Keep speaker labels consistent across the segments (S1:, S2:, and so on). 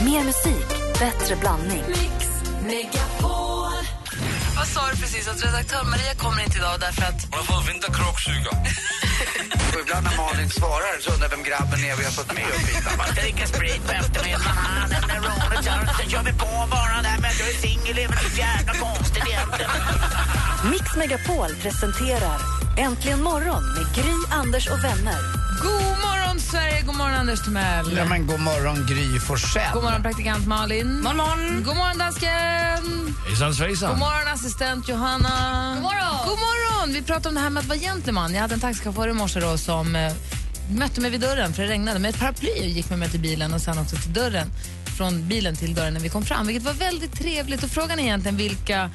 S1: Mer musik, bättre blandning.
S2: Mix Megapol. Vad sa du precis? Att redaktör Maria kommer inte idag därför att...
S3: Hon har fått vinda kråksuga.
S4: Och ibland när Malin svarar så undrar vem grabben är vi har fått med upp hit.
S5: Man ska dricka sprit på eftermiddagen, det är roligt. så- Sen kör vi på bara där med att jag är singel, det är väl så jävla konstigt egentligen.
S1: Mix Megapol presenterar Äntligen morgon med Gry, Anders och vänner.
S2: God morgon, Sverige! God morgon, Anders Timell!
S4: Ja, men god morgon Gry Forssell.
S2: God morgon, praktikant Malin. God morgon, God morgon dansken.
S3: Hejsan svejsan.
S2: God morgon, assistent Johanna. God morgon. God morgon. Vi pratade om det här med att vara gentleman. Jag hade en taxichaufför i morse då som eh, mötte mig vid dörren för det regnade med ett paraply och gick med mig till bilen och sen också till dörren. Från bilen till dörren när vi kom fram, vilket var väldigt trevligt. Och frågan är egentligen vilka,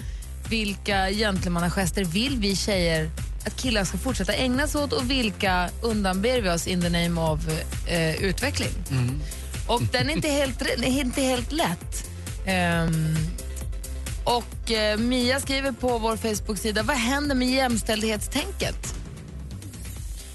S2: vilka gentlemannagester vill vi tjejer att killar ska fortsätta ägna sig åt och vilka undanber vi oss in the name of eh, utveckling. Och den är inte helt, den är inte helt lätt. Ehm, och eh, Mia skriver på vår Facebook-sida, vad händer med jämställdhetstänket?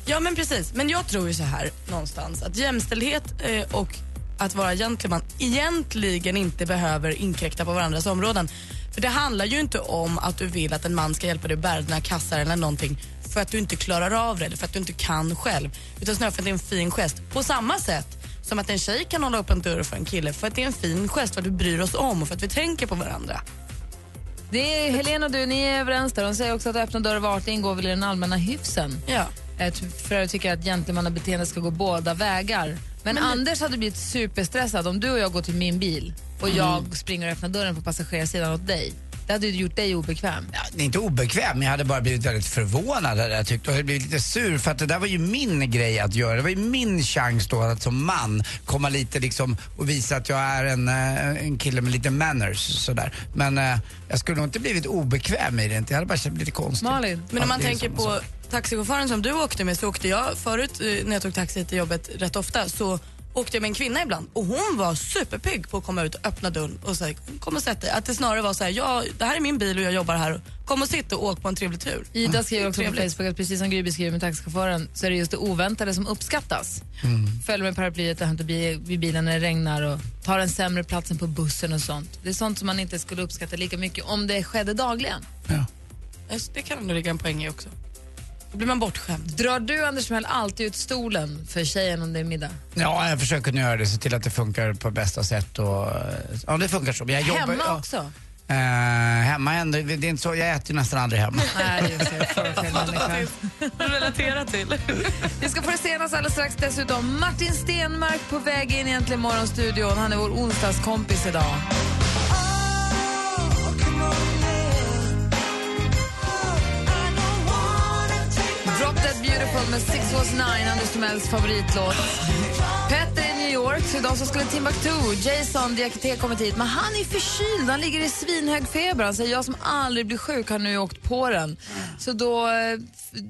S6: Ja, men precis. Men jag tror ju så här någonstans att jämställdhet eh, och att vara gentleman egentligen inte behöver inkräkta på varandras områden. För det handlar ju inte om att du vill att en man ska hjälpa dig att bära dina kassar eller någonting för att du inte klarar av det eller för att du inte kan själv. Utan snarare för att det är en fin gest. På samma sätt som att en tjej kan hålla upp en dörr för en kille för att det är en fin gest för att vi bryr oss om och för att vi tänker på varandra.
S2: Det är Helena och du, ni är överens där. Hon säger också att öppna dörrar var artig ingår väl i den allmänna hyfsen.
S6: Ja.
S2: Eh, ty- För jag tycker att gentlemannabeteendet ska gå båda vägar. Men, Anders hade blivit superstressad om du och jag går till min bil och jag springer och öppnar dörren på passagerarsidan åt dig. Det hade ju gjort dig obekväm.
S4: Ja, det är inte obekväm, men jag hade bara blivit väldigt förvånad hade jag tyckt. Och jag hade blivit lite sur för att det där var ju min grej att göra. Det var ju min chans då att som man komma lite liksom och visa att jag är en, eh, en kille med lite manners sådär. Men eh, jag skulle nog inte blivit obekväm i det inte. Jag hade bara känt mig lite konstigt.
S2: Malin?
S6: Men
S4: Ja,
S6: om man
S4: det är
S6: tänker
S4: samma
S6: på
S4: sak.
S6: taxichauffören som du åkte med så åkte jag förut eh, när jag tog taxi till jobbet rätt ofta så åkte jag med en kvinna ibland och hon var superpigg på att komma ut och öppna dörren och säga kom och sätt dig. Att det snarare var så här, ja det här är min bil och jag jobbar här. Kom och sitt och åk på en trevlig tur.
S2: Ida skriver också på
S6: Trevligt.
S2: Facebook att precis som Gry beskriver med taxichauffören så är det just det oväntade som uppskattas.
S4: Mm.
S2: Följ med paraplyet och hämta bi- vid bilen när det regnar och tar den sämre platsen på bussen och sånt. Det är sånt som man inte skulle uppskatta lika mycket om det skedde dagligen.
S6: Yes, Det kan ändå ligga en poäng i också. Då blir man bortskämd.
S2: Drar du Anders Mell alltid ut stolen för tjejen om det är middag?
S4: Ja, jag försöker nu göra det, se till att det funkar på bästa sätt och eh, ja, det funkar så. Men jag jobbar,
S2: Hemma
S4: ja,
S2: också?
S4: Eh, hemma ändå, det är inte så, jag äter ju nästan aldrig hemma.
S2: Nej, just det. Jag är för fel människa.
S6: Relatera till.
S2: Vi ska få det senaste alldeles strax. Dessutom Martin Stenmark på väg in i Äntligen morgonstudion. Han är vår onsdagskompis idag. Drop That Beautiful med Six Was Nine, Anders Timells favoritlåt. Petter i New York, så idag så skulle Timbuktu, Jason Diakité kommit hit. Men han är förkyld, han ligger i svinhög feber. Han säger jag som aldrig blir sjuk har nu åkt på den. Så då, eh,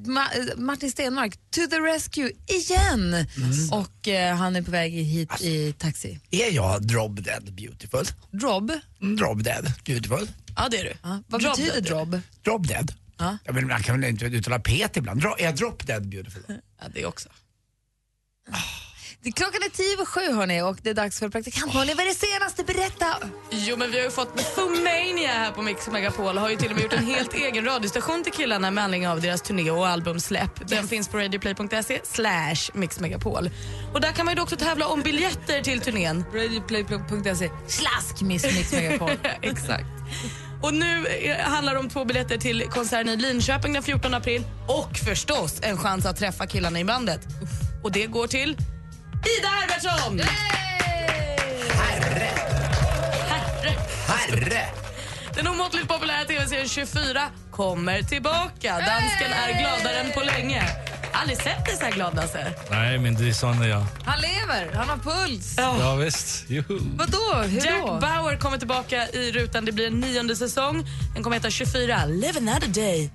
S2: Ma eh, Martin Stenmark, to the rescue igen. Och eh, han är på väg hit i taxi.
S4: Är jag drob dead beautiful?
S2: Drob,
S4: Mm, Drob dead beautiful?
S6: Ja det är du.
S2: ja, vad
S6: Drop
S2: betyder
S6: Dead.
S2: drob?
S4: Drop dead?
S2: Ja.
S4: Ja, men man kan väl inte uttala P ibland? Dro- är jag drop dead beautiful?
S6: Ja, det också.
S2: Det- Klockan är tio och sju hörni och det är dags för praktikant Malin. Vad är det senaste? Berätta!
S6: Jo, men vi har ju fått Fumania här på Mix Megapol har ju till och med gjort en helt egen radiostation till killarna med anledning av deras turné och albumsläpp. Den finns på radioplay.se slash Mix Megapol. Och där kan man ju då också tävla om biljetter till turnén.
S2: Radioplay.se. Slask Miss Mix Megapol.
S6: Exakt. Och nu eh, handlar det om två biljetter till konserten i Linköping den 14 april och förstås en chans att träffa killarna i bandet. Och det går till Ida Herbertsson!
S4: Herre!
S6: Den omåttligt populära tv-serien 24 kommer tillbaka. Dansken är gladare än på länge. Aldrig sett dig så här glad, Lasse.
S3: Nej, men det är sån är jag.
S2: Han lever, han har puls.
S3: Ja, visst. Juhu.
S2: Vadå? Hur
S6: Jack
S2: då?
S6: Bauer kommer tillbaka i rutan. Det blir en nionde säsong. Den kommer heta 24, Live another day.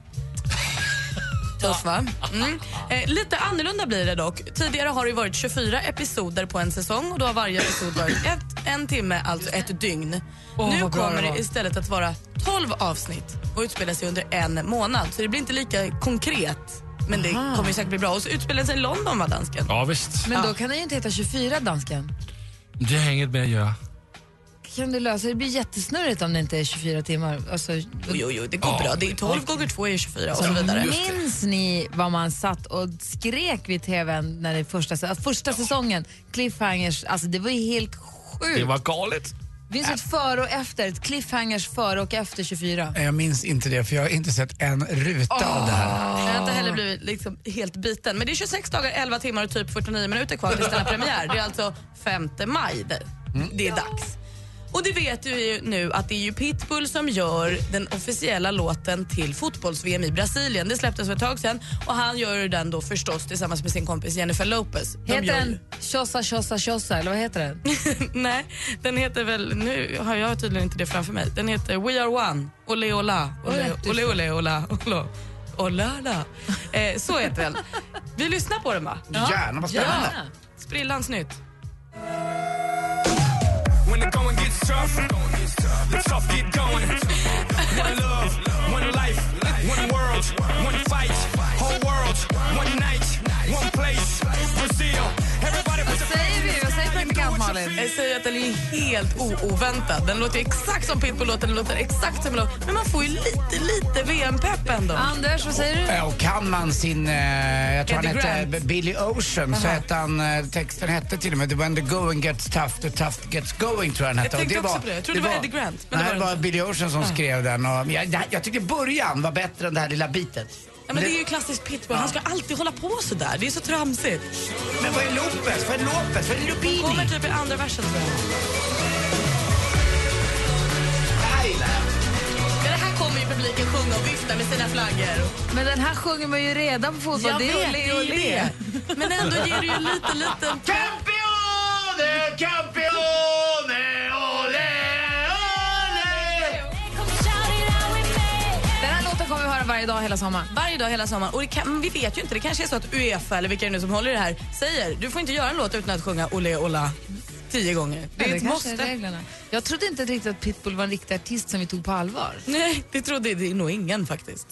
S6: Tufft, va? Mm. Eh, lite annorlunda blir det dock. Tidigare har det ju varit 24 episoder på en säsong och då har varje episod varit ett, en timme, alltså ett dygn.
S2: Åh,
S6: nu
S2: vad bra
S6: kommer
S2: det
S6: det,
S2: var.
S6: istället att vara 12 avsnitt och utspela sig under en månad. Så det blir inte lika konkret. Men det kommer ju säkert bli bra. Och så utspelar det sig i London, va, dansken?
S3: Ja, visst.
S2: Men då kan han ju inte heta 24, dansken.
S3: Det har inget med att göra.
S2: kan du lösa det. blir jättesnurrigt om det inte är 24 timmar. Alltså,
S6: Jo, jo, det går bra. Det är 12 gånger 2 är 24 och så vidare.
S2: minns ni vad man satt och skrek vid tvn när det första, sä- första säsongen? Cliffhangers, alltså det var ju helt sjukt.
S3: Det var galet.
S2: Det finns ett före och efter, ett cliffhangers före och efter 24.
S4: Jag minns inte det för jag har inte sett en ruta av det här.
S6: Jag har inte
S2: Ah.
S6: heller blivit liksom helt biten. Men det är 26 dagar, 11 timmar och typ 49 minuter kvar tills den här premiär. Det är alltså 5 maj. Det,
S2: Mm.
S6: det är dags. Och det vet vi ju nu att det är ju Pitbull som gör den officiella låten till fotbolls-VM i Brasilien. Det släpptes för ett tag sedan och han gör ju den då förstås tillsammans med sin kompis Jennifer Lopez. De
S2: Heter
S6: gör
S2: den Tjosa Tjosa Tjosa eller vad heter den?
S6: ju- Nej, den heter väl, nu har jag tydligen inte det framför mig. Den heter We Are One, Ole Ola, Ole
S2: Rätt, du
S6: Ole Ole Ola, Ola. Ola, ola. Eh, så heter den. Vi lyssnar på den va?
S4: Gärna, vad spännande.
S2: Ja.
S6: Sprillans nytt.
S7: When the going gets tough, the tough get going. One love, one life, one world, one fight, whole world, one night, one place, Brazil. Everybody put
S2: Vad säger vi? Vad säger praktikant Malin?
S6: Jag säger att den är helt o- oväntad. Den låter exakt som Pitbull-låten, den låter exakt som en låt. Men man får ju lite, lite VM-pepp ändå.
S2: Anders, vad säger du?
S4: Eh, Och kan man sin, eh, jag tror han
S6: Eddie
S4: hette
S6: Grant.
S4: Billy Ocean, så hette han, eh, texten hette till och med When the going gets tough, the tough gets going tror jag den hette. Och
S6: tänkte också på det. Jag trodde det var Eddie Grant, men
S4: Nej,
S6: det var
S4: det
S6: det
S4: var Billy Ocean som skrev den. Och jag, jag, jag tycker början var bättre än det här lilla bitet.
S6: Ja, men det är ju klassiskt Pitbull. Han ska alltid hålla på så där. Det är så tramsigt.
S4: Men vad är Lopez? Vad är Lopez? Vad är
S6: Kommer
S4: Lupini?
S6: typ i andra versen, tror jag. Men det här kommer ju publiken sjunga och vifta med sina flaggor.
S2: Men den här sjunger man ju redan på fotboll.
S6: Jag
S2: det
S6: vet,
S2: är
S6: det
S2: Olle,
S6: är ju
S2: Olle.
S6: det. Men ändå ger det ju lite, liten pepp.
S4: Campione, campione, ole, ole.
S2: Den här låten kommer vi höra varje dag hela sommaren.
S6: Varje dag hela sommaren. Och det kan, men vi vet ju inte, det kanske är så att Uefa eller vilka det nu som håller i det här säger du får inte göra en låt utan att sjunga Ole Ola tio gånger. Det är ett
S2: kanske är
S6: måste.
S2: reglerna. Jag trodde inte riktigt att Pitbull var en riktig artist som vi tog på allvar.
S6: Nej, det trodde det är nog ingen faktiskt.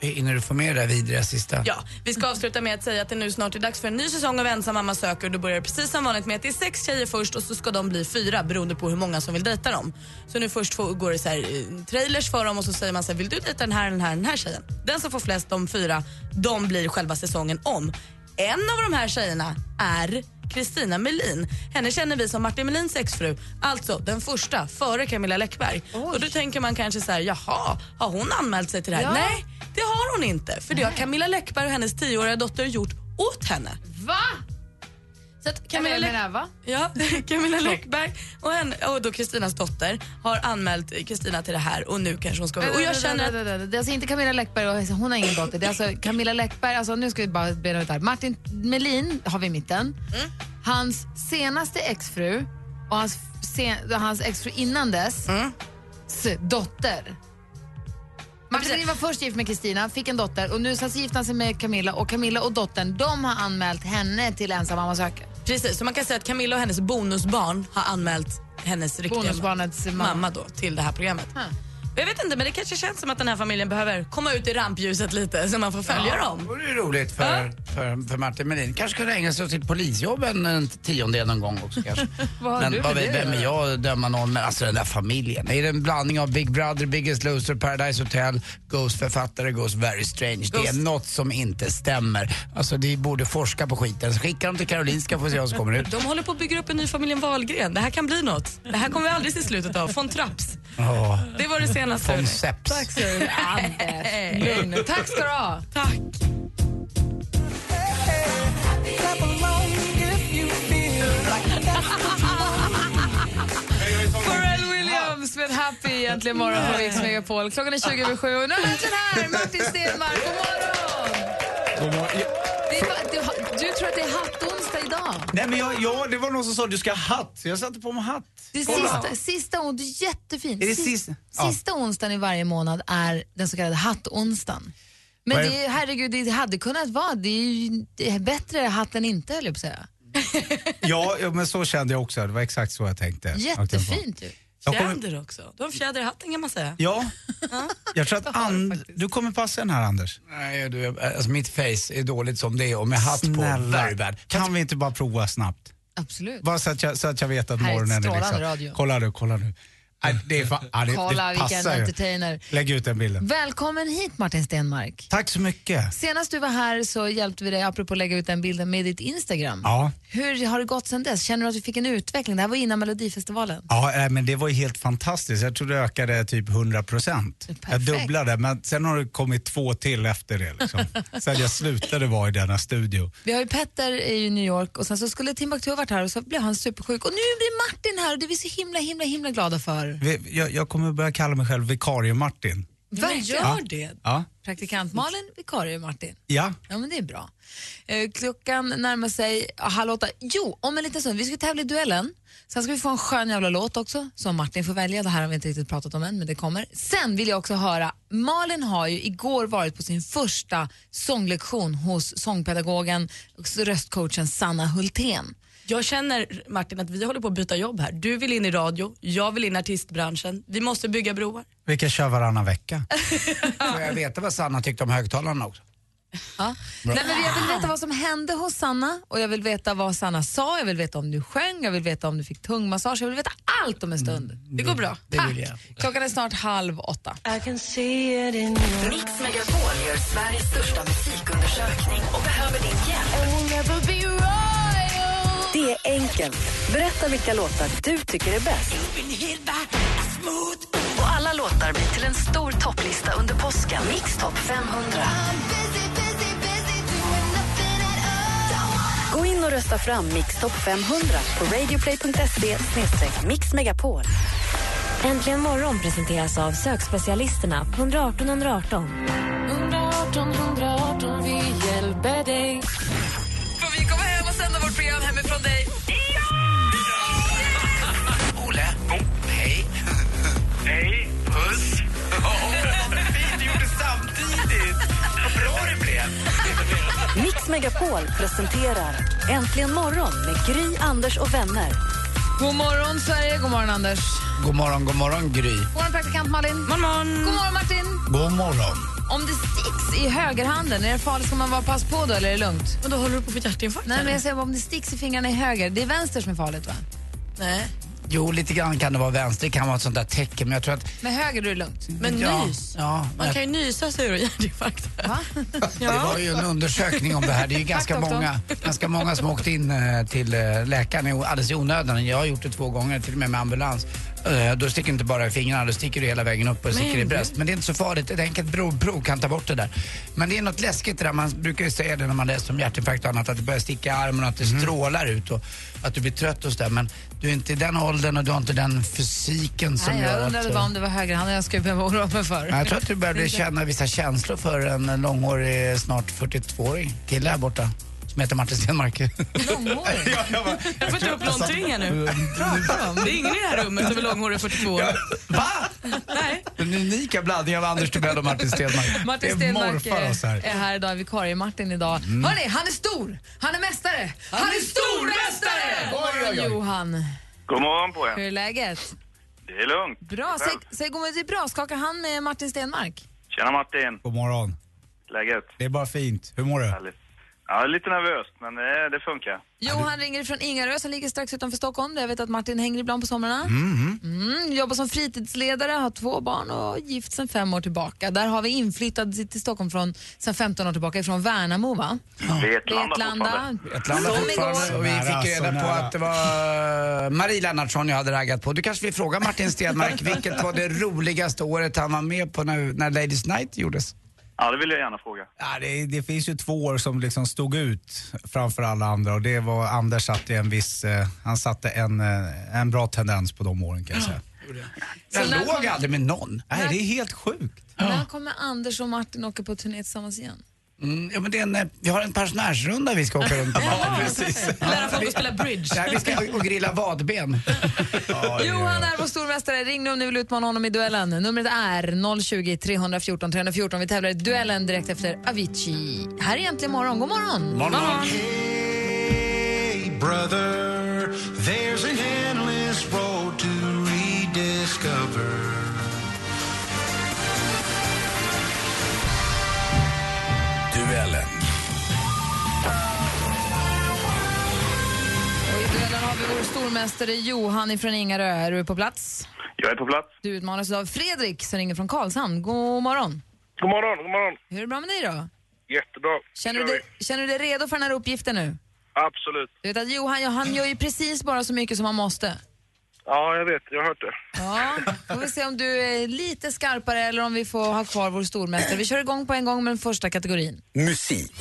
S4: Innan du får med det där vidriga sista.
S6: Ja, vi ska avsluta med att säga att det nu snart är dags för en ny säsong av Ensam mamma söker och då börjar det precis som vanligt med att det är sex tjejer först och så ska de bli fyra beroende på hur många som vill dejta dem. Så nu först får, går det så här, eh, trailers för dem och så säger man så här, vill du dejta den här, den här, den här tjejen? Den som får flest, de fyra, de blir själva säsongen om. En av de här tjejerna är Kristina Melin. Henne känner vi som Martin Melins exfru, alltså den första före Camilla Läckberg. Och då tänker man kanske så här, jaha, har hon anmält sig till det här?
S2: Ja.
S6: Äh, Nej, det har hon inte. För det har Camilla Läckberg och hennes tioåriga dotter gjort åt henne.
S2: Va?
S6: Så att Camilla,
S2: Camilla
S6: Läck-
S2: menar, va?
S6: ja, Camilla Läckberg och, henne, och då Kristinas dotter har anmält Kristina till det här och nu kanske hon ska... Och jag känner att...
S2: Det är alltså inte Camilla Läckberg, och hon har ingen dotter. Det är alltså Camilla Läckberg, alltså nu ska vi bara bena ut det här. Martin Melin har vi i mitten.
S6: Mm.
S2: Hans senaste exfru och hans, sen, hans exfru innan dess
S6: Mm.
S2: s dotter. Martin Melin var först gift med Kristina, fick en dotter och nu sen så gifte han sig med Camilla och Camilla och dottern, de har anmält henne till ensam mamma söker.
S6: Precis, så man kan säga att Camilla och hennes bonusbarn har anmält hennes riktiga
S2: Bonusbarnets mamma.
S6: mamma då till det här programmet.
S2: Huh.
S6: Jag vet inte, men det kanske känns som att den här familjen behöver komma ut i rampljuset lite så man får följa
S4: Det
S6: dem.
S4: vore ju roligt för, för, för Martin Melin. Kanske kunde ägna sig åt sitt polisjobb en, en tiondel någon gång också kanske.
S2: Vad har
S4: men
S2: du
S4: vad
S2: med
S4: vet-
S2: det
S4: vem är
S2: att
S4: jag att döma någon? Men alltså den där familjen. Är det en blandning av Big Brother, Biggest Loser, Paradise Hotel, Ghost-författare, Ghost Very Strange. Det är
S6: Ghost.
S4: något som inte stämmer. Alltså de borde forska på skiten. Skicka dem till Karolinska får vi se vad som kommer ut.
S6: De håller på att bygga upp en ny familjen Wahlgren. Det här kan bli något. Det här kommer vi aldrig se slutet av. Von Trapps.
S4: Oh,
S6: Det var det senaste.
S4: om seps.
S2: Tack så du Anders. Eh, Lugn nu. Tack ska du ha.
S6: Tack.
S2: Pharrell Williams med Happy egentligen morgon på Mix Megapol. Klockan är 20 över sju och nu är han äntligen här, Martin Stenmarck. God morgon!
S8: God morgon. Ja,
S2: Det är, bara- du, har- du tror att det är hattonsdag idag?
S8: nej men jag, ja, det var någon som sa du ska ha hatt, så jag satte på mig hatt.
S2: Det är sista, sista on, du är jättefin.
S8: Är det
S2: Sis-
S8: sista? Ja.
S2: sista onsdagen i varje månad är den så kallade hattonsdagen. Men
S8: Vad är-
S2: det, är- herregud, det hade kunnat vara. Det är ju det är bättre hatt än inte, höll jag på att säga.
S8: Ja, ja, men så kände jag också. Det var exakt så jag tänkte.
S2: Jättefint ju.
S8: Jag kommer-
S6: Fjäder också. Du har en fjäder i hatten kan man säga.
S8: Ja, jag tror att and, du kommer passa den här Anders.
S4: Nej, du, alltså mitt face är dåligt som det är och med hatt på. Very bad.
S8: Kan vi inte bara prova snabbt?
S9: Absolut.
S8: Bara så att jag, så att jag vet att
S2: Här är
S8: morgonen är
S2: strålande
S8: liksom...
S2: radio.
S8: Kolla nu, kolla nu. Nej, det, är fan, ja, det,
S2: Kolla
S8: det
S2: vilken
S8: passar ju.
S2: entertainer.
S8: Lägg ut den bilden.
S2: Välkommen hit Martin Stenmark.
S8: Tack så mycket.
S2: Senast du var här så hjälpte vi dig, apropå att lägga ut den bilden, med ditt Instagram.
S8: Ja.
S2: Hur har det gått sedan dess? Känner du att vi fick en utveckling? Det här var innan Melodifestivalen.
S8: Ja, äh, men det var ju helt fantastiskt. Jag tror det ökade typ 100 procent. Jag
S2: Perfekt.
S8: dubblade, men sen har det kommit två till efter det. Liksom. sen jag slutade vara i denna studio.
S2: Vi har ju Petter i New York och sen så skulle Timbuktu ha varit här och så blev han supersjuk och nu blir Martin här och det är vi så himla, himla, himla glada för.
S8: Vi- Jag, jag kommer börja kalla mig själv vikarie-Martin.
S2: Verkligen.
S6: Gör det.
S8: Ja.
S2: Praktikant Malin, vikarie Martin.
S8: ja,
S2: Ja men det är bra. Eh, klockan närmar sig ah, halv åtta. Jo, om en liten stund. Vi ska tävla i duellen. Sen ska vi få en skön jävla låt också som Martin får välja. Det här har vi inte riktigt pratat om än men det kommer. Sen vill jag också höra, Malin har ju igår varit på sin första sånglektion hos sångpedagogen och röstcoachen Sanna Hultén.
S6: Jag känner Martin att vi håller på att byta jobb här. Du vill in i radio, jag vill in i artistbranschen. Vi måste bygga broar.
S8: vi kan köra varannan vecka.
S4: Får jag veta vad Sanna tyckte om högtalarna också?
S2: Ja. Nej, men jag vill veta vad som hände hos Sanna och jag vill veta vad Sanna sa, jag vill veta om du sjöng, jag vill veta om du fick tungmassage, jag vill veta allt om en stund. Mm, Det går bra. Tack. Klockan är snart halv åtta.
S1: Mix Megapol gör Sveriges största musikundersökning och behöver din hjälp. Det är enkelt. Berätta vilka låtar du tycker är bäst. Och alla låtar blir till en stor topplista under påsken. Mix topp 500. Gå in och rösta fram Mix topp 500 på radioplay.se mixmegapol.
S10: Äntligen morgon presenteras av sökspecialisterna på 118 118.
S2: Får vi komma hem och sända vårt program hemifrån dig?
S5: Olle? Hej. Hej. Puss. Vad fint du gjorde samtidigt. Vad bra det blev.
S1: Mix Megapol presenterar Äntligen morgon med Gry, Anders och vänner.
S2: God morgon Sverige, god morgon Anders.
S4: God morgon, god morgon Gry.
S2: God morgon praktikant Malin.
S6: Morgon, morgon.
S2: God morgon Martin.
S8: God morgon.
S2: Om det sticks i högerhanden, är det farligt? Ska man vara pass på då eller är det lugnt?
S6: Men då håller du på att få hjärtinfarkt?
S2: Nej
S6: eller?
S2: men jag säger bara, om det sticks i fingrarna i höger, det är vänster som är farligt va?
S6: Nej.
S4: Jo, lite grann kan det vara vänster, det kan vara ett sånt där tecken, men jag tror att...
S2: Med höger är det lugnt.
S6: Men
S4: ja,
S6: nys.
S4: Ja,
S6: Man
S4: men
S6: kan ju nysa sig ur hjärtinfarkt.
S4: Det var ju en undersökning om det här. Det är ju ganska,
S2: doktor.
S4: många, ganska många som åkte in eh, till eh, läkaren i- alldeles i onödan. Jag har gjort det två gånger, till och med med ambulans. Eh, Då sticker inte bara i fingrarna, då sticker du hela vägen upp och sticker i bröst. Men det är inte så farligt. Ett enkelt blodprov kan ta bort det där. Men det är något läskigt det där. Man brukar ju säga det när man läser om hjärtinfarkt och annat, att det börjar sticka i armen och att det strålar ut och att du blir trött och sådär. Men du är inte i den åldern och du har inte den fysiken som
S2: Nej,
S4: gör
S2: jag
S4: att...
S2: undrade
S4: eh,
S2: bara om det var högerhanden jag skulle behöva oroa mig för.
S4: Ja, Jag tror att du började känna vissa känslor för en långårig, snart 42-årig kille här borta som heter Martin Stenmark.
S2: Långhårig.
S8: Ja, jag bara,
S6: Jag får inte upp någonting här nu. Det är ingen i det här rummet som är långhårig 42 år.
S4: Va?
S6: Nej.
S4: Den unika blandningen av Anders Timell och Martin Stenmark.
S2: Martin
S8: Det
S2: Stenmark
S8: morfar oss
S2: är,
S8: här. Mm.
S2: är här idag, vikarie Martin idag. Hörni, han är stor! Han är mästare! Han, är stormästare! God morgon Johan!
S7: God morgon på
S2: Hur
S7: er.
S2: är läget?
S7: Det är lugnt.
S2: Bra, säg, säg god morgon, det är bra. Skakar han med Martin Stenmark?
S7: Tjena Martin.
S8: God morgon.
S7: Läget?
S8: Det är bara fint. Hur mår du?
S7: Härligt. Ja, lite nervöst, men det, det funkar.
S2: Johan ringer från Ingarö som ligger strax utanför Stockholm där jag vet att Martin hänger ibland på somrarna. Mm, jobbar som fritidsledare, har två barn och är gift sedan fem år tillbaka. Där har vi inflyttad till Stockholm från, sedan 15 år tillbaka ifrån Värnamo va?
S7: Vetlanda fortfarande.
S4: Ett land
S2: Som
S4: fortfarande.
S2: igår.
S4: Och vi
S8: Nära,
S4: fick ju
S8: så
S4: reda på
S8: nära.
S4: att det var eh, Marie Lennartsson jag hade raggat på. Du kanske vill fråga Martin Stenmark vilket var det roligaste året han var med på när, när Ladies Night gjordes?
S7: Ja, det vill jag gärna fråga.
S8: Ja, det, det finns ju två år som liksom stod ut framför alla andra och det var Anders satte en viss, eh, han satte en, eh, en bra tendens på de åren kan jag säga.
S4: Jag
S2: när
S4: låg
S2: kom-
S4: aldrig med någon.
S8: Nej, det är helt sjukt.
S2: När kommer Anders och Martin åka på turné tillsammans igen?
S4: Mm, ja, men det är en, eh, vi har en pensionärsrunda vi ska åka runt på.
S6: Lära folk att spela bridge.
S4: Ja, vi ska och grilla vadben.
S2: Johan är vår stormästare. Ring nu om ni vill utmana honom i duellen. Numret är 020 314 314. Vi tävlar i duellen direkt efter Avicii. Här är Äntligen morgon. God morgon!
S7: Hey brother, there's an endless road to rediscover.
S2: Och I duellen stormästare Johan ifrån Ingarö. Är du på plats?
S9: Jag är på plats.
S2: Du utmanas av Fredrik som ringer från Karlshamn. God morgon.
S9: God morgon, god morgon.
S2: Hur är det bra med dig då?
S9: Jättebra.
S2: Känner du,
S9: Kör
S2: dig,
S9: vi.
S2: känner du dig redo för den här uppgiften nu?
S9: Absolut.
S2: Du vet att Johan, ja, han gör ju precis bara så mycket som han måste.
S9: Ja, jag vet. Jag har hört det.
S2: Ja, får vi se om du är lite skarpare eller om vi får ha kvar vår stormästare. Vi kör igång på en gång med den första kategorin.
S11: Musik.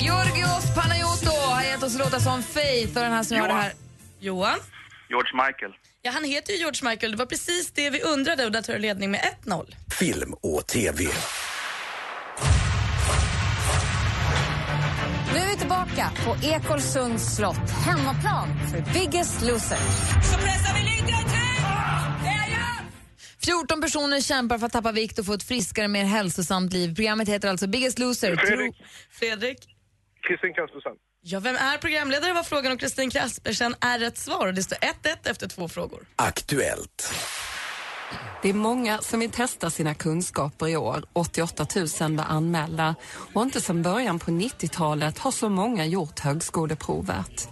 S2: Georgios Panayoto har gett oss låta som Faith och den här som gör det här.
S6: Johan?
S9: George Michael.
S6: Ja, han heter ju George Michael. Det var precis det vi undrade och där tar du ledning med 1-0.
S11: Film och TV.
S12: Nu är vi tillbaka på Ekolsunds slott, hemmaplan för Biggest Loser.
S2: 14 personer kämpar för att tappa vikt och få ett friskare, mer hälsosamt liv. Programmet heter alltså Biggest Loser.
S9: Fredrik.
S6: Fredrik?
S9: Kristin Kaspersen.
S6: Ja, vem är programledare var frågan och Kristin Kraspersen är rätt svar. Och Det står 1-1 efter två frågor.
S11: Aktuellt.
S13: Det är många som vill testa sina kunskaper i år. 88 000 var anmälda. Och inte sedan början på 90-talet har så många gjort högskoleprovet.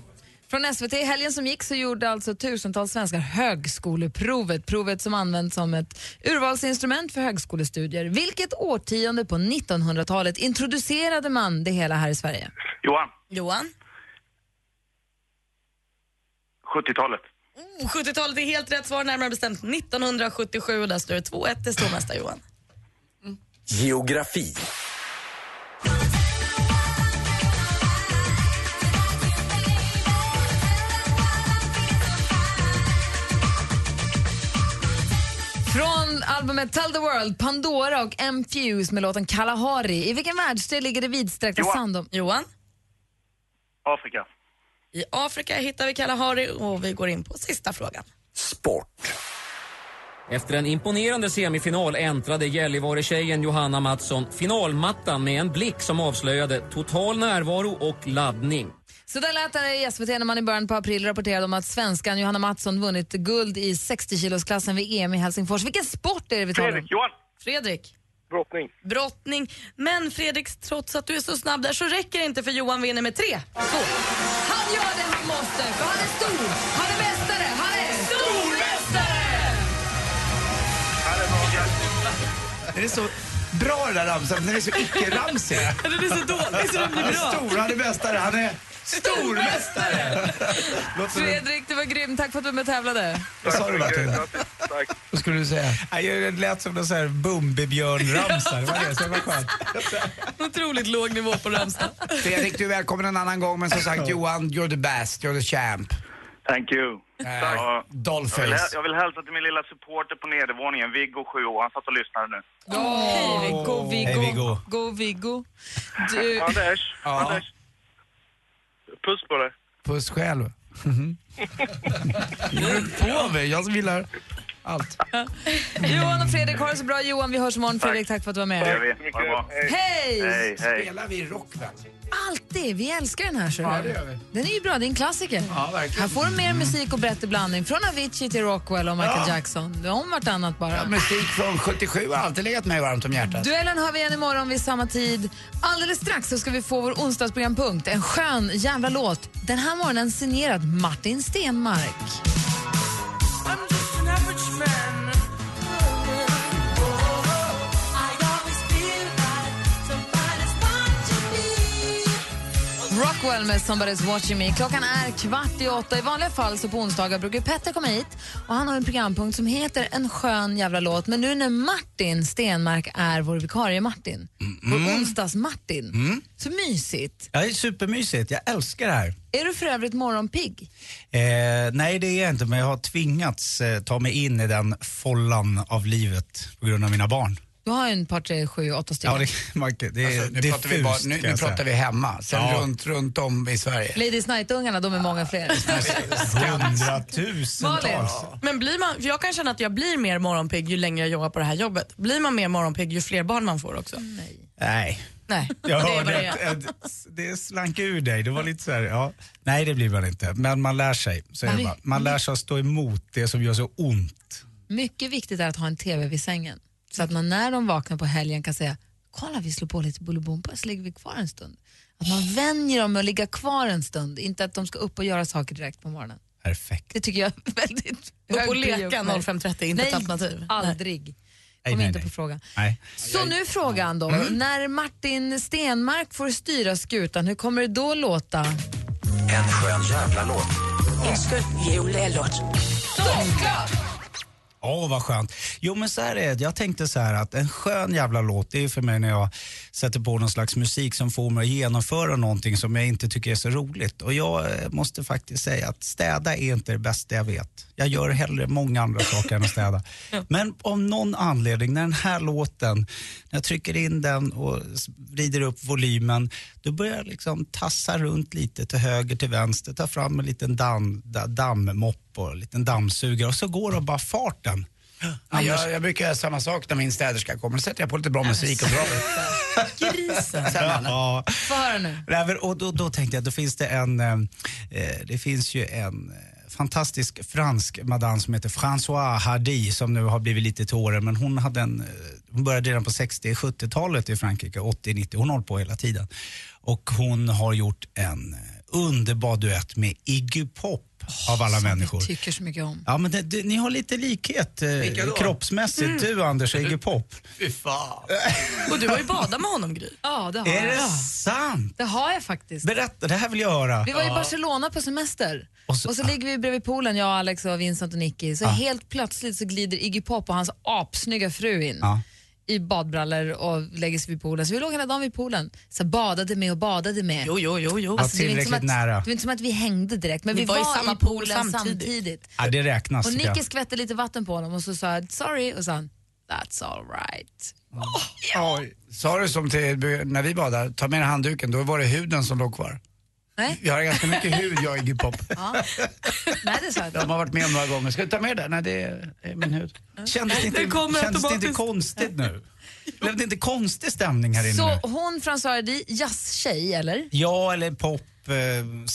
S2: Från SVT i helgen som gick så gjorde alltså tusentals svenskar högskoleprovet, provet som används som ett urvalsinstrument för högskolestudier. Vilket årtionde på 1900-talet introducerade man det hela här i Sverige?
S9: Johan.
S6: Johan?
S9: 70-talet.
S6: Oh, 70-talet är helt rätt svar, närmare bestämt 1977. Och där står det 2-1 till stormästare Johan.
S11: Geografi.
S2: Från albumet Tell the World, Pandora och M-Fuse med låten Kalahari. I vilken världsdel ligger det vidsträckta sandom...
S6: Johan?
S9: Afrika.
S6: I Afrika hittar vi Kalahari och vi går in på sista frågan.
S14: Efter en imponerande semifinal äntrade Gällivare-tjejen Johanna Mattsson finalmattan med en blick som avslöjade total närvaro och laddning.
S2: Så där lät det i SVT när man i början på april rapporterade om att svenskan Johanna Mattsson vunnit guld i 60-kilosklassen vid EM i Helsingfors. Vilken sport är det vi talar om?
S9: Johan?
S6: Fredrik?
S9: Brottning.
S6: Brottning. Men Fredrik, trots att du är så snabb där så räcker det inte för Johan vinner med 3.
S2: Han gör det han måste, för han är stor, han är mästare, han är
S6: stormästare!
S4: Den är så bra den där ramsan, den är så icke-ramsig.
S6: Den är så dålig så den blir bra.
S4: Stor, han är mästare, han är stormästare! Låter det-
S2: Fredrik, du var grym. Tack för att du var med och tävlade.
S4: Vad sa du Martin? Vad skulle du säga?
S8: Det lät som en sån här Bumbibjörn-ramsa. Det var det, så det var skönt.
S6: Otroligt låg nivå på ramsan.
S4: Fredrik, du är välkommen en annan gång, men som sagt Johan, you're the best, you're the champ.
S9: Thank you.
S4: Tack.
S9: Jag vill,
S4: Dollface.
S9: jag vill hälsa till min lilla supporter på nedervåningen, Viggo 7 år. Han satt och lyssnade nu.
S2: Hej Viggo, Viggo.
S9: Hej, Viggo.
S2: Go Viggo. Du,
S9: Anders, Anders. Puss på dig.
S4: Puss själv. Nu är du på mig, jag som gillar allt.
S2: Johan och Fredrik, har det så bra. Johan, vi hörs imorgon. Fredrik, tack för att du var med. Hej!
S4: Spelar vi rockband?
S2: Alltid! Vi älskar den här. Så
S4: Ja, det gör vi.
S2: Den är ju bra, det är en klassiker.
S4: Ja, verkligen.
S2: Här får du mer musik och bättre blandning. Från Avicii till Rockwell och Michael
S4: Ja.
S2: Jackson. Det är om vartannat bara.
S4: Ja, musik från 77 har alltid legat mig varmt om hjärtat.
S2: Duellen har vi igen imorgon vid samma tid. Alldeles strax så ska vi få vår onsdagsprogrampunkt. En skön jävla låt. Den här morgonen signerad Martin Stenmark. Rockwell med Somebody's Watching Me. Klockan är kvart i åtta. I vanliga fall så på onsdagar brukar Petter komma hit och han har en programpunkt som heter En skön jävla låt. Men nu när Martin Stenmark är vår vikarie Martin,
S8: Mm.
S2: vår onsdags-Martin, så mysigt.
S8: Ja, det är supermysigt. Jag älskar det här.
S2: Är du för övrigt morgonpigg?
S8: Eh, nej, det är jag inte, men jag har tvingats eh, ta mig in i den follan av livet på grund av mina barn.
S2: Du har ju en par, tre, sju, åtta stycken.
S8: Ja, det, Marke, det är
S4: Alltså, nu
S8: diffust,
S4: pratar vi bara- nu-
S8: kan jag
S4: nu
S8: säga.
S4: pratar vi hemma. Sen runt, runt om i Sverige.
S2: Ladies Night-ungarna, de är många fler.
S8: Hundratusentals.
S6: Men blir man, för jag kan känna att jag blir mer morgonpigg ju längre Mm. jag jobbar på det här jobbet. Blir man mer morgonpigg ju fler barn man får också?
S8: Nej,
S6: Nej.
S4: Jag
S6: det är vad
S4: hörde
S6: det
S4: att,
S6: är.
S4: att det slank ur dig. Det var lite så här, ja. Nej det blir man inte. Men man lär sig. Så är det
S2: Nej.
S4: bara. Man lär sig att stå emot det som gör så ont.
S2: Mycket viktigt är att ha en TV vid sängen. Så att man när de vaknar på helgen kan säga, kolla vi slår på lite Bolibompa så ligger vi kvar en stund. Att man vänjer dem med att ligga kvar en stund, inte att de ska upp och göra saker direkt på morgonen.
S4: Perfekt.
S2: Det tycker jag är väldigt
S6: Upp och
S2: hög prio
S6: leka
S2: för mig.
S6: 05.30, inte
S2: Nej,
S6: ett alternativ.
S2: aldrig.
S4: Nej,
S2: Kom
S4: nej,
S2: inte
S4: nej.
S2: på frågan.
S4: Nej.
S2: Så nu frågan då.
S6: Mm.
S2: När Martin Stenmark får styra skutan, hur kommer det då låta?
S15: En skön jävla låt.
S2: En skutt,
S7: Såklart!
S4: Åh, vad skönt. Jo, men så här är det. Jag tänkte så här att en skön jävla låt, det är för mig när jag sätter på någon slags musik som får mig att genomföra någonting som jag inte tycker är så roligt. Och jag eh, måste faktiskt säga att städa är inte det bästa jag vet. Jag gör hellre många andra saker än att städa. Men av någon anledning, när den här låten, när jag trycker in den och s- vrider upp volymen, då börjar jag liksom tassa runt lite till höger, till vänster, ta fram en liten damm, da- dammmopp och en liten dammsugare och så går det av bara farten.
S16: Ja, jag, jag brukar göra samma sak när min städerska kommer. Då sätter jag på lite bra musik och drar.
S2: Grisen.
S4: Ja.
S2: Få höra nu.
S4: Nej, men, och då, då tänkte jag, då finns det en, eh, eh, det finns ju en eh, fantastisk fransk madame som heter François Hardy som nu har blivit lite till åren men hon hade en, eh, hon började redan på 60-70-talet i Frankrike, 80-90, hon har hållit på hela tiden. Och hon har gjort en eh, underbar duett med Iggy Pop av alla människor.
S2: Tycker så mycket om.
S4: Ja men det, det, ni har lite likhet eh,
S2: Vilka då?
S4: kroppsmässigt,
S2: Mm.
S4: du Anders och Iggy Pop.
S16: Fy fan.
S6: Och du har ju badat med honom Gry.
S2: Mm. Ja, det har
S4: Är det
S2: jag.
S4: sant?
S2: Det har jag faktiskt.
S4: Berätta, det här vill jag höra.
S2: Vi var i Barcelona på semester och
S4: Och
S2: så,
S4: så-
S2: ligger vi bredvid poolen, jag, Alex, och Vincent och Nicky. Så
S4: Ah.
S2: helt plötsligt så glider Iggy Pop och hans apsnygga fru in
S4: Ja.
S2: i badbrallor och lägger sig vid poolen. Så vi låg hela dagen vid poolen. Så badade med och badade med.
S6: Jo, jo, jo. Alltså, jo.
S2: det är inte som
S4: tillräckligt
S2: att,
S4: nära.
S2: Det var inte som att vi hängde direkt, men
S6: Ni
S2: vi var,
S6: var i samma
S2: i
S6: pool
S2: poolen samtidigt.
S6: samtidigt.
S4: Ja, det räknas.
S2: Och
S4: tycker jag.
S2: Nicky skvätte lite vatten på honom och så sa jag sorry och sa han, that's alright.
S16: Oj. Sa du som till, när vi badar, ta med dig handduken, då var det huden som låg kvar.
S2: Nej.
S16: Jag har ganska mycket hud jag Iggy Pop.
S2: Ja. Nej, det sa jag
S16: De
S2: inte.
S16: har varit med om några gånger. Ska du ta med det? Nej, det är, det är min hud.
S4: Kändes det
S16: Det
S4: inte,
S16: kommer
S4: kändes det inte
S16: automatiskt.
S4: konstigt nu? Blev det inte konstig stämning här inne nu?
S2: Så hon, François Hardy, jazztjej eller?
S4: Ja, eller pop, eh,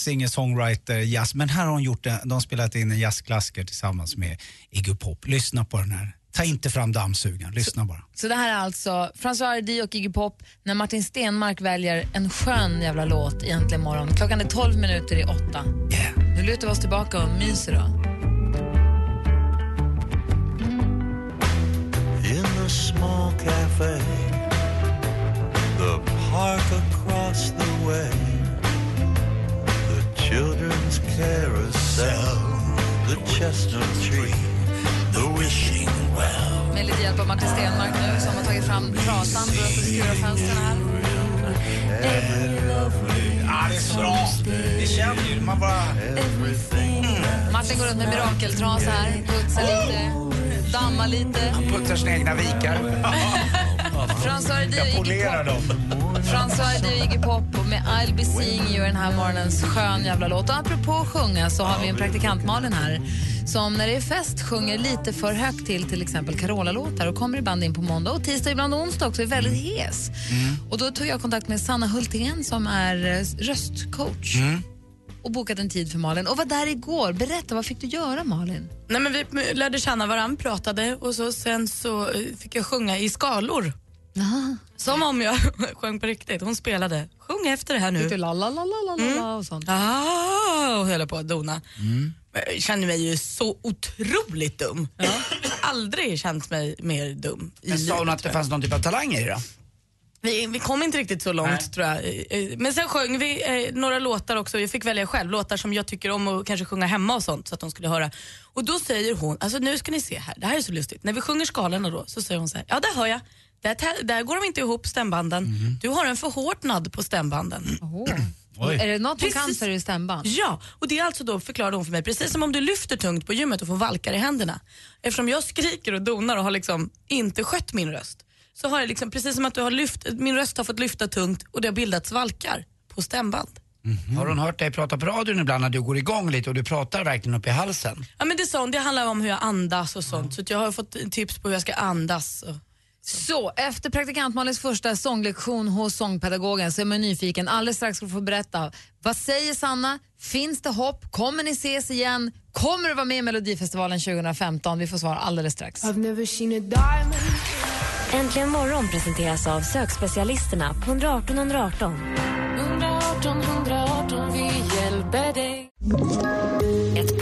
S4: singer-songwriter, jazz. Men här har hon gjort det, de har spelat in en jazzklassiker tillsammans med Iggy Pop. Lyssna på den här. Ta inte fram dammsugaren, lyssna bara.
S2: Så det här är alltså François Hardy och Iggy Pop när Martin Stenmark väljer en skön jävla låt i Äntligen morgon. Klockan är 12 minuter i åtta. Nu lutar vi oss tillbaka och myser då.
S7: In the small cafe, the park across the way, the children's carousel, the chestnut tree, the wishing well.
S2: Med lite hjälp av Martin Stenmark nu som har tagit fram trasan för att skura fönstren här.
S4: Ja, det är så bra. Det känner ju, man bara...
S2: Martin går runt med mirakeltrasa här, putsar lite, dammar lite.
S16: Putsar sina egna vikar.
S2: François Hardy och
S16: Jag
S2: Iggy
S16: polerar
S2: Pop.
S16: dem.
S2: François Hardy och Iggy Pop och med I'll be seeing you den här morgonens skön jävla låt. Och apropå att sjunga så har vi en praktikant Malin här som när det är fest sjunger lite för högt till till exempel Carola-låtar och kommer ibland in på måndag och tisdag, ibland onsdag också, är väldigt hes. Och då tog jag kontakt med Sanna Hultén som är eh, röstcoach och bokat en tid för Malin och var där igår. Berätta, vad fick du göra Malin?
S6: Nej, men vi lärde känna varandra, pratade och så, sen så eh, fick jag sjunga i skalor. Som om jag sjöng på riktigt. Hon spelade. Sjung efter det här nu.
S2: Fick du la la la la la la och sånt?
S6: Ah, och höll på att dona.
S2: Mm.
S6: Jag kände mig ju så otroligt dum. Jag har aldrig känt mig mer dum. i
S16: Men sa hon
S6: livet,
S16: att det
S6: tror jag.
S16: fanns någon typ av talang i det då?
S6: Vi, vi kom inte riktigt så långt
S16: Nej.
S6: tror jag. Eh, eh, Men sen sjöng vi eh, några låtar också. Jag fick välja själv, låtar som jag tycker om och kanske sjunga hemma och sånt så att de skulle höra. Och då säger hon, alltså nu ska ni se här, det här är så lustigt. När vi sjunger skalorna då så säger hon så här, ja där hör jag. Där, tä- där går de inte ihop stämbanden. Du har en förhårdnad på stämbanden.
S2: Är det något du kan så är det stämband.
S6: Ja, och det är alltså då förklarade hon för mig, precis som om du lyfter tungt på gymmet och får valkar i händerna. Eftersom jag skriker och donar och har liksom inte skött min röst så har jag liksom, precis som att du har lyft, min röst har fått lyfta tungt och det har bildats valkar på stämband.
S16: Har hon hört dig prata på radion ibland när du går igång lite och du pratar verkligen upp i halsen?
S6: Ja men det är sånt, det handlar om hur jag andas och sånt så att jag har fått tips på hur jag ska andas. Och
S2: Så, efter praktikant Malins första sånglektion hos sångpedagogen så är man nyfiken. Alldeles strax ska du få berätta. Vad säger Sanna? Finns det hopp? Kommer ni ses igen? Kommer du vara med i Melodifestivalen 2015? Vi får svar alldeles strax.
S1: Äntligen morgon presenteras av sökspecialisterna på 118 118.
S6: 118 118, vi hjälper dig. Ett